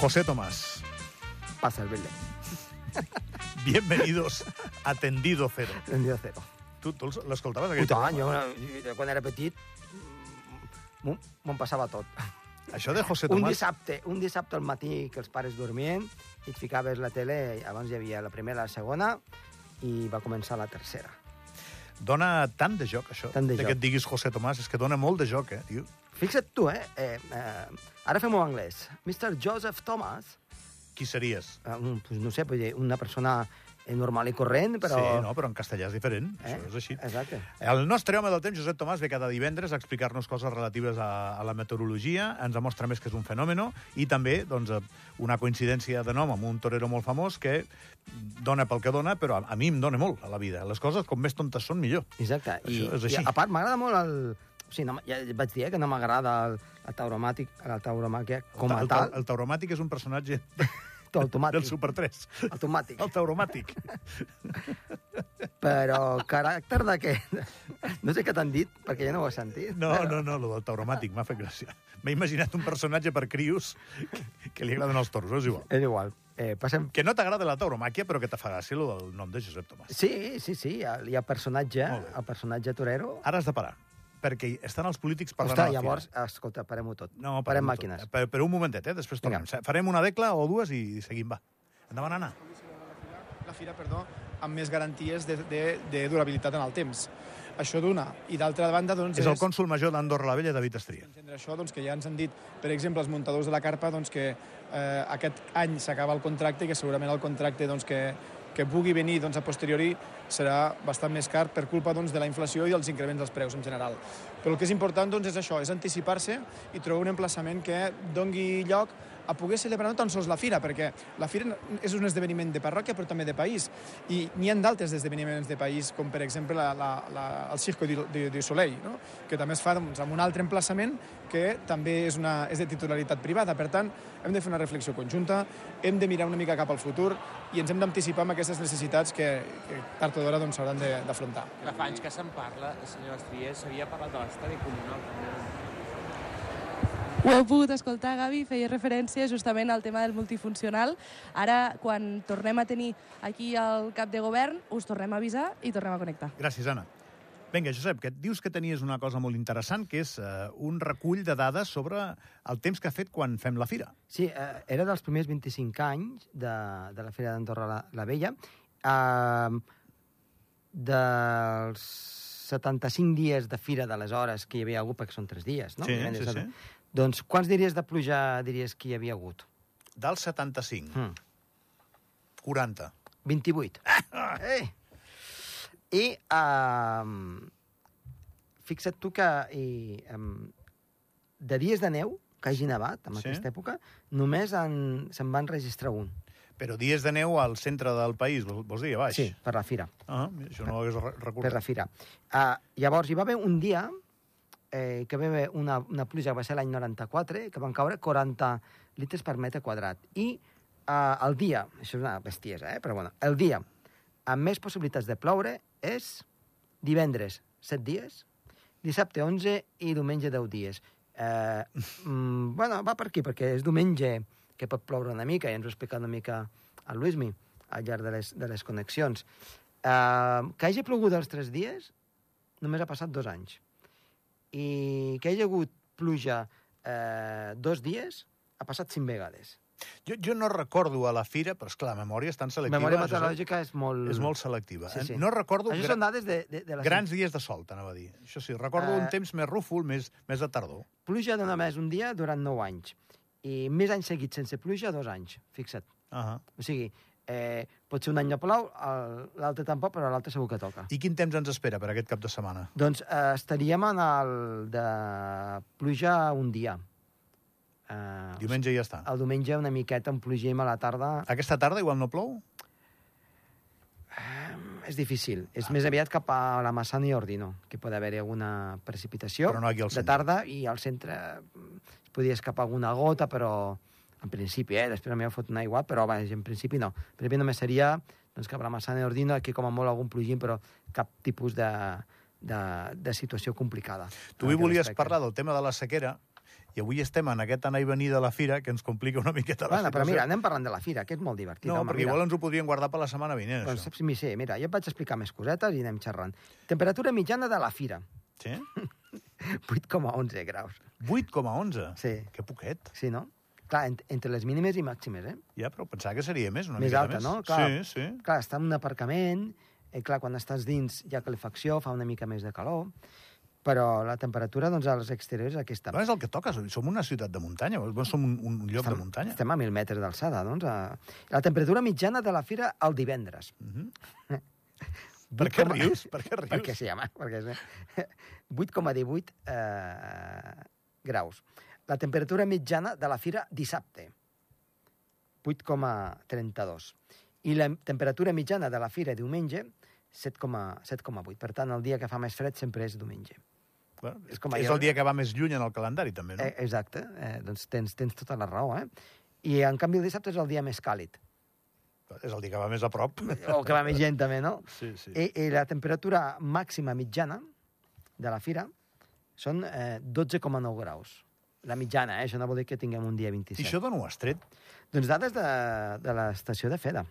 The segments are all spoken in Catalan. José Tomás, Pasa el Belén. bienvenidos a Tendido Cero. Tendido cero. Tu, tu l'escoltaves? I aquest tant, jo, programa? jo quan era petit mm, m'ho- m'ho passava tot. Això de José Un Tomás... dissabte, un dissabte al matí que els pares dormien i et ficaves la tele, abans hi havia la primera, la segona, i va començar la tercera. Dona tant de joc, això. Tant de joc. que et diguis José Tomàs, és que dona molt de joc, eh, tio. Fixa't tu, eh? eh, eh ara fem-ho en anglès. Mr. Joseph Thomas, Qui series? eh, un, pues, no sé, vull dir, una persona eh, normal i corrent, però... Sí, no, però en castellà és diferent, Eh? això és així. Exacte. El nostre home del temps, Josep Tomàs, ve cada divendres a explicar-nos coses relatives a, a la meteorologia, ens demostra més que és un fenomen i també doncs, eh, una coincidència de nom amb un torero molt famós que dona pel que dona, però a, a mi em dona molt a la vida. Les coses, com més tontes són, millor. Exacte. I, Això és i així. a part, m'agrada molt el... O sigui, no, m- ja vaig dir eh, que no m'agrada el, el tauromàtic, el tauromàquia com a el, ta- tal, el, tauromàtic és un personatge el, automàtic, del Super 3. automàtic. El tauromàtic. Però caràcter de què? No sé què t'han dit, perquè ja no ho has sentit. No, no, no, lo del tauromàtic m'ha fet gràcia. M'he imaginat un personatge per crios que, que li agraden els toros, és igual. És igual. Eh, passem... Que no t'agrada la tauromàquia, però que te fa gràcia lo del nom de Josep Tomàs. Sí, sí, sí, hi ha personatge, Molt bé. el personatge torero. Ara has de parar, perquè estan els polítics parlant a Ostres, la llavors, fira. escolta, parem-ho tot. No, parem parem-ho màquines. tot. Per, per un momentet, eh? després tornem. Vinga. Farem una decla o dues i seguim, va. Endavant, Anna. la fira perdó, amb més garanties de, de, de durabilitat en el temps. Això d'una. I d'altra banda, doncs... És el cònsul major d'Andorra la Vella, David Estria. Entendre això, doncs, que ja ens han dit, per exemple, els muntadors de la carpa, doncs, que eh, aquest any s'acaba el contracte i que segurament el contracte doncs, que, que pugui venir doncs, a posteriori serà bastant més car per culpa doncs, de la inflació i els increments dels preus en general. Però el que és important doncs, és això, és anticipar-se i trobar un emplaçament que dongui lloc a poder celebrar no tan sols la fira, perquè la fira és un esdeveniment de parròquia però també de país, i n'hi ha d'altres esdeveniments de país, com per exemple la, la, la, el Circo du, du, du Soleil, no? que també es fa doncs, amb un altre emplaçament que també és, una, és de titularitat privada. Per tant, hem de fer una reflexió conjunta, hem de mirar una mica cap al futur i ens hem d'anticipar amb aquestes necessitats que, que tard o d'hora doncs, s'hauran de- d'afrontar. Que fa anys que se'n parla, senyor Estrier, s'havia parlat de l'estadi comunal. també. Ho heu pogut escoltar, Gavi, feia referència justament al tema del multifuncional. Ara, quan tornem a tenir aquí el cap de govern, us tornem a avisar i tornem a connectar. Gràcies, Anna. Vinga, Josep, que et dius que tenies una cosa molt interessant, que és eh, un recull de dades sobre el temps que ha fet quan fem la fira. Sí, eh, era dels primers 25 anys de, de la Fira d'Andorra la, la Vella. Eh, dels 75 dies de fira d'aleshores que hi havia hagut, perquè són 3 dies, no? Sí, Divendres, sí, dissabte. Doncs quants diries de pluja diries que hi havia hagut? Del 75, Hmm. 40. 28. Eh! I um, fixa't tu que i, um, de dies de neu que hagi nevat en Sí. aquesta època, només en, se'n van registrar un. Però dies de neu al centre del país, vol- vols dir, a baix? Sí, per la fira. Ah, mira, això no ho hagués re- Per la recordat. fira. Uh, llavors, hi va haver un dia eh, que va haver una, una pluja, que va ser l'any 94, que van caure 40 litres per metre quadrat. I uh, el dia, això és una bestiesa, eh? però bueno, el dia amb més possibilitats de ploure és divendres 7 dies, dissabte 11 i diumenge 10 dies. Eh, mm, bueno, va per aquí, perquè és diumenge que pot ploure una mica, i ens ho ha explicat una mica el Luismi al llarg de les, de les connexions. Eh, que hagi plogut els 3 dies només ha passat dos anys. I que hagi hagut pluja eh, dos dies ha passat cinc vegades. Jo, jo no recordo a la fira, però esclar, la memòria és tan La selectiva. memòria Josep, meteorològica és molt... És molt selectiva. Eh? Sí, sí. No recordo Això gra- són dades de, de, de la grans dies de sol, t'anava a dir. Això sí, recordo Eh, un temps més rúfol, més, més de tardor. Pluja no només un dia durant 9 anys. I més anys seguits sense pluja, dos anys. Fixa't. Ah O sigui, eh, pot ser un any no plou, el- l'altre tampoc, però l'altre segur que toca. I quin temps ens espera per aquest cap de setmana? Doncs eh, estaríem en el de pluja un dia. Eh, Diumenge ja està. El diumenge una miqueta amb plugim a la tarda Aquesta tarda igual no plou? és difícil. Ah. És més aviat cap a la Massana i Ordino, que pot haver-hi alguna precipitació Però no aquí al de centre. tarda i al centre mm, es podria escapar alguna gota, però en principi, eh? Després m'hi ha fot una igual, però vaja, en principi no. En principi només seria doncs, cap a la Massana i Ordino, aquí com a molt algun plugim, però cap tipus de, de, de situació complicada. Tu avui volies parlar del tema de la sequera i avui estem en aquest anar i venir de la fira, que ens complica una miqueta la Bueno, però situació. mira, anem parlant de la fira, que és molt divertit. no, home, perquè mira. igual ens ho podríem guardar per la setmana vinent, Doncs això. saps, mi sé, mira, jo et vaig explicar més cosetes i anem xerrant. Temperatura mitjana de la fira, Sí? 8,11 graus. 8,11? Sí. Que poquet. Sí, no? Clar, ent entre les mínimes i màximes, eh? Ja, però pensava que seria més, una Més miqueta alta, més. no? Clar. Sí, sí. Clar, està en un aparcament, eh, clar, quan estàs dins hi ha calefacció, fa una mica més de calor, però la temperatura, doncs, als exteriors és aquesta. No és el que toca, som una ciutat de muntanya, bueno, som un, un lloc de muntanya. Estem a 1.000 metres d'alçada, doncs. A... La temperatura mitjana de la fira el divendres. Mhm. Per què 8,- rius? Per què rius? Perquè sí, home, perquè és... 8,18 eh, graus. La temperatura mitjana de la fira dissabte, 8,32. I la temperatura mitjana de la fira diumenge, 7,8. Per tant, el dia que fa més fred sempre és diumenge. Bueno, És és, com com ahir- és el dia que va més lluny en el calendari, també, no? Eh, exacte, eh, doncs tens, tens tota la raó, eh? I, en canvi, el dissabte és el dia més càlid. Eh. És el dia que va més a prop. O que va més gent, també, no? Sí, sí. I, i Eh, la temperatura màxima mitjana de la fira són eh, 12,9 graus. La mitjana, eh? Això no vol dir que tinguem un dia I 27. això d'on ho has tret? Doncs dades de, de l'estació de FEDA.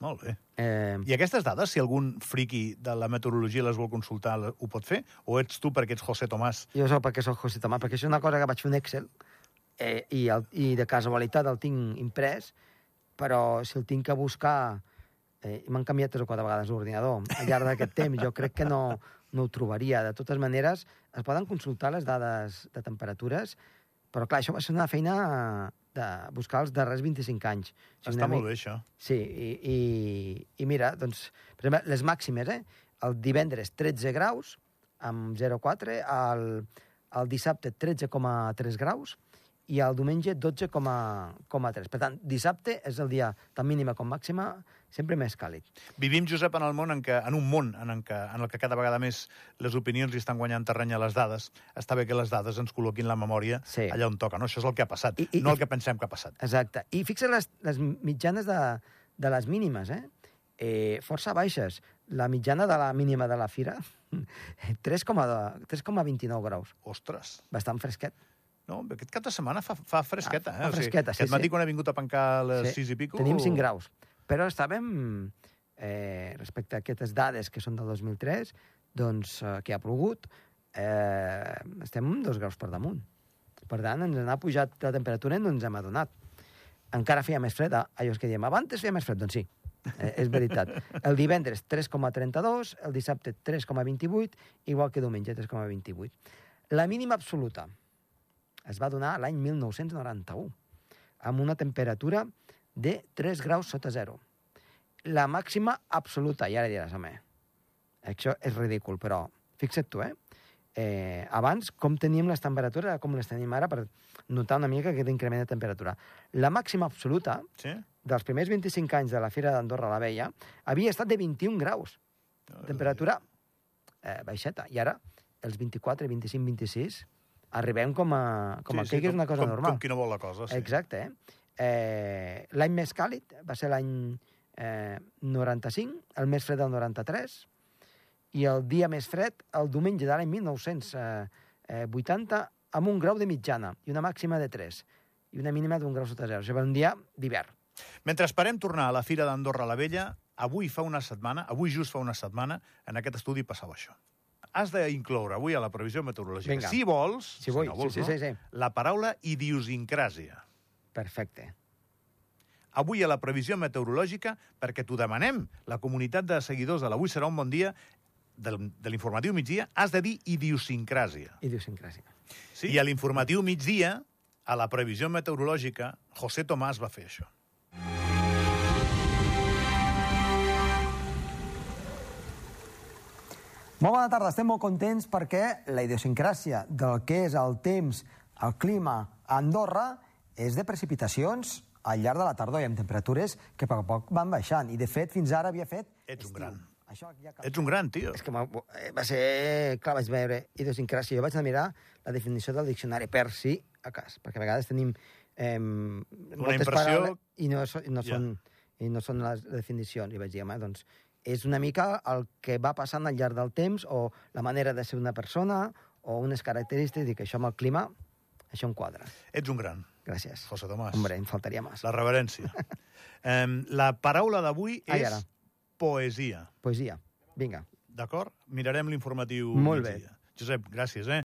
Molt bé. Eh, I aquestes dades, si algun friqui de la meteorologia les vol consultar, le- ho pot fer? O ets tu perquè ets José Tomàs? jo sóc perquè soc José Tomà, perquè això és una cosa que vaig fer un Excel eh, i, el, i de casualitat el tinc imprès, però si el tinc que buscar... Eh, M'han canviat tres o quatre vegades l'ordinador al llarg d'aquest temps. Jo crec que no, no ho trobaria. De totes maneres, es poden consultar les dades de temperatures, però clar, això va ser una feina de buscar els darrers 25 anys. Sí, Està molt bé, això. Sí, i, i, i mira, doncs, per exemple, les màximes, eh? El divendres 13 graus, amb 0,4, el, el dissabte 13,3 graus i el diumenge 12,3. Per tant, dissabte és el dia tant mínima com màxima, sempre més càlid. Vivim, Josep, en el món en, què, en un món en, en, què, en el que cada vegada més les opinions li estan guanyant terreny a les dades. Està bé que les dades ens col·loquin la memòria Sí. allà on toca, no? Això és el que ha passat, I- i- no i- el que pensem que ha passat. Exacte. I fixa't les, les mitjanes de, de les mínimes, eh? eh? Força baixes. La mitjana de la mínima de la fira, 3,29 graus. Ostres! Bastant fresquet. No, aquest cap de setmana fa, fa fresqueta, Ah, eh? fa fresqueta, sí, Aquest matí sí. quan he vingut a pencar a les sí. 6 i pico... Tenim 5 graus. Però estàvem, eh, respecte a aquestes dades que són del 2003, doncs eh, que ha plogut, eh, estem amb 2 graus per damunt. Per tant, ens n'ha pujat la temperatura i no ens hem adonat. Encara feia més fred, ah, allò que diem, abans feia més fred, doncs sí, eh, és veritat. El divendres 3,32, el dissabte 3,28, igual que diumenge 3,28. La mínima absoluta es va donar l'any 1991 amb una temperatura de 3 graus sota zero. La màxima absoluta, i ara diràs, home, això és ridícul, però fixa't tu, eh? eh abans, com teníem les temperatures, com les tenim ara, per notar una mica aquest increment de temperatura. La màxima absoluta Sí? dels primers 25 anys de la Fira d'Andorra la Vella havia estat de 21 graus. Temperatura eh, baixeta. I ara, els 24, 25, 26, arribem com a... Com sí, a sí, que és una cosa com, normal. Com qui no vol la cosa, Oh, sí. Exacte. Eh? Eh, l'any més càlid va ser l'any eh, 95, el més fred del 93, i el dia més fred, el diumenge de l'any 1980, eh, amb un grau de mitjana i una màxima de 3 i una mínima d'un grau sota zero. O sigui, un dia d'hivern. Mentre esperem tornar a la Fira d'Andorra la Vella, avui fa una setmana, avui just fa una setmana, en aquest estudi passava això. Has d'incloure avui a la previsió meteorològica, Vinga. si vols, Si vull, no vols sí, sí, no, sí, sí. la paraula idiosincràsia. Perfecte. Avui a la previsió meteorològica, perquè t'ho demanem, la comunitat de seguidors de l'Avui serà un bon dia, del- de l'informatiu migdia, has de dir idiosincràsia. Idiosincràsia. Sí? I a l'informatiu migdia, a la previsió meteorològica, José Tomàs va fer això. Molt bona tarda, estem molt contents perquè la idiosincràsia del que és el temps, el clima a Andorra és de precipitacions al llarg de la tardor i amb temperatures que a poc a poc van baixant. I, de fet, fins ara havia fet... Ets un estiu. gran. Això ja cap... Ets un gran, tio. És que m'ha- eh, va ser... Clar, vaig veure idiosincràsia. Jo vaig anar a mirar la definició del diccionari per si a cas, perquè a vegades tenim eh, moltes impressió- paraules i no, so, i no Ja. són, i no són les definicions. I vaig dir, home, doncs, és una mica el que va passant al llarg del temps o la manera de ser una persona o unes característiques i que això amb el clima Això em quadra. Ets un gran, Gràcies. José Tomàs. Hombre, em faltaria més. La reverència. um, la paraula d'avui és Ai, ara. poesia, Poesia. Vinga. d'acord? Mirarem l'informatiu. Molt bé. migdia. Josep, gràcies, eh?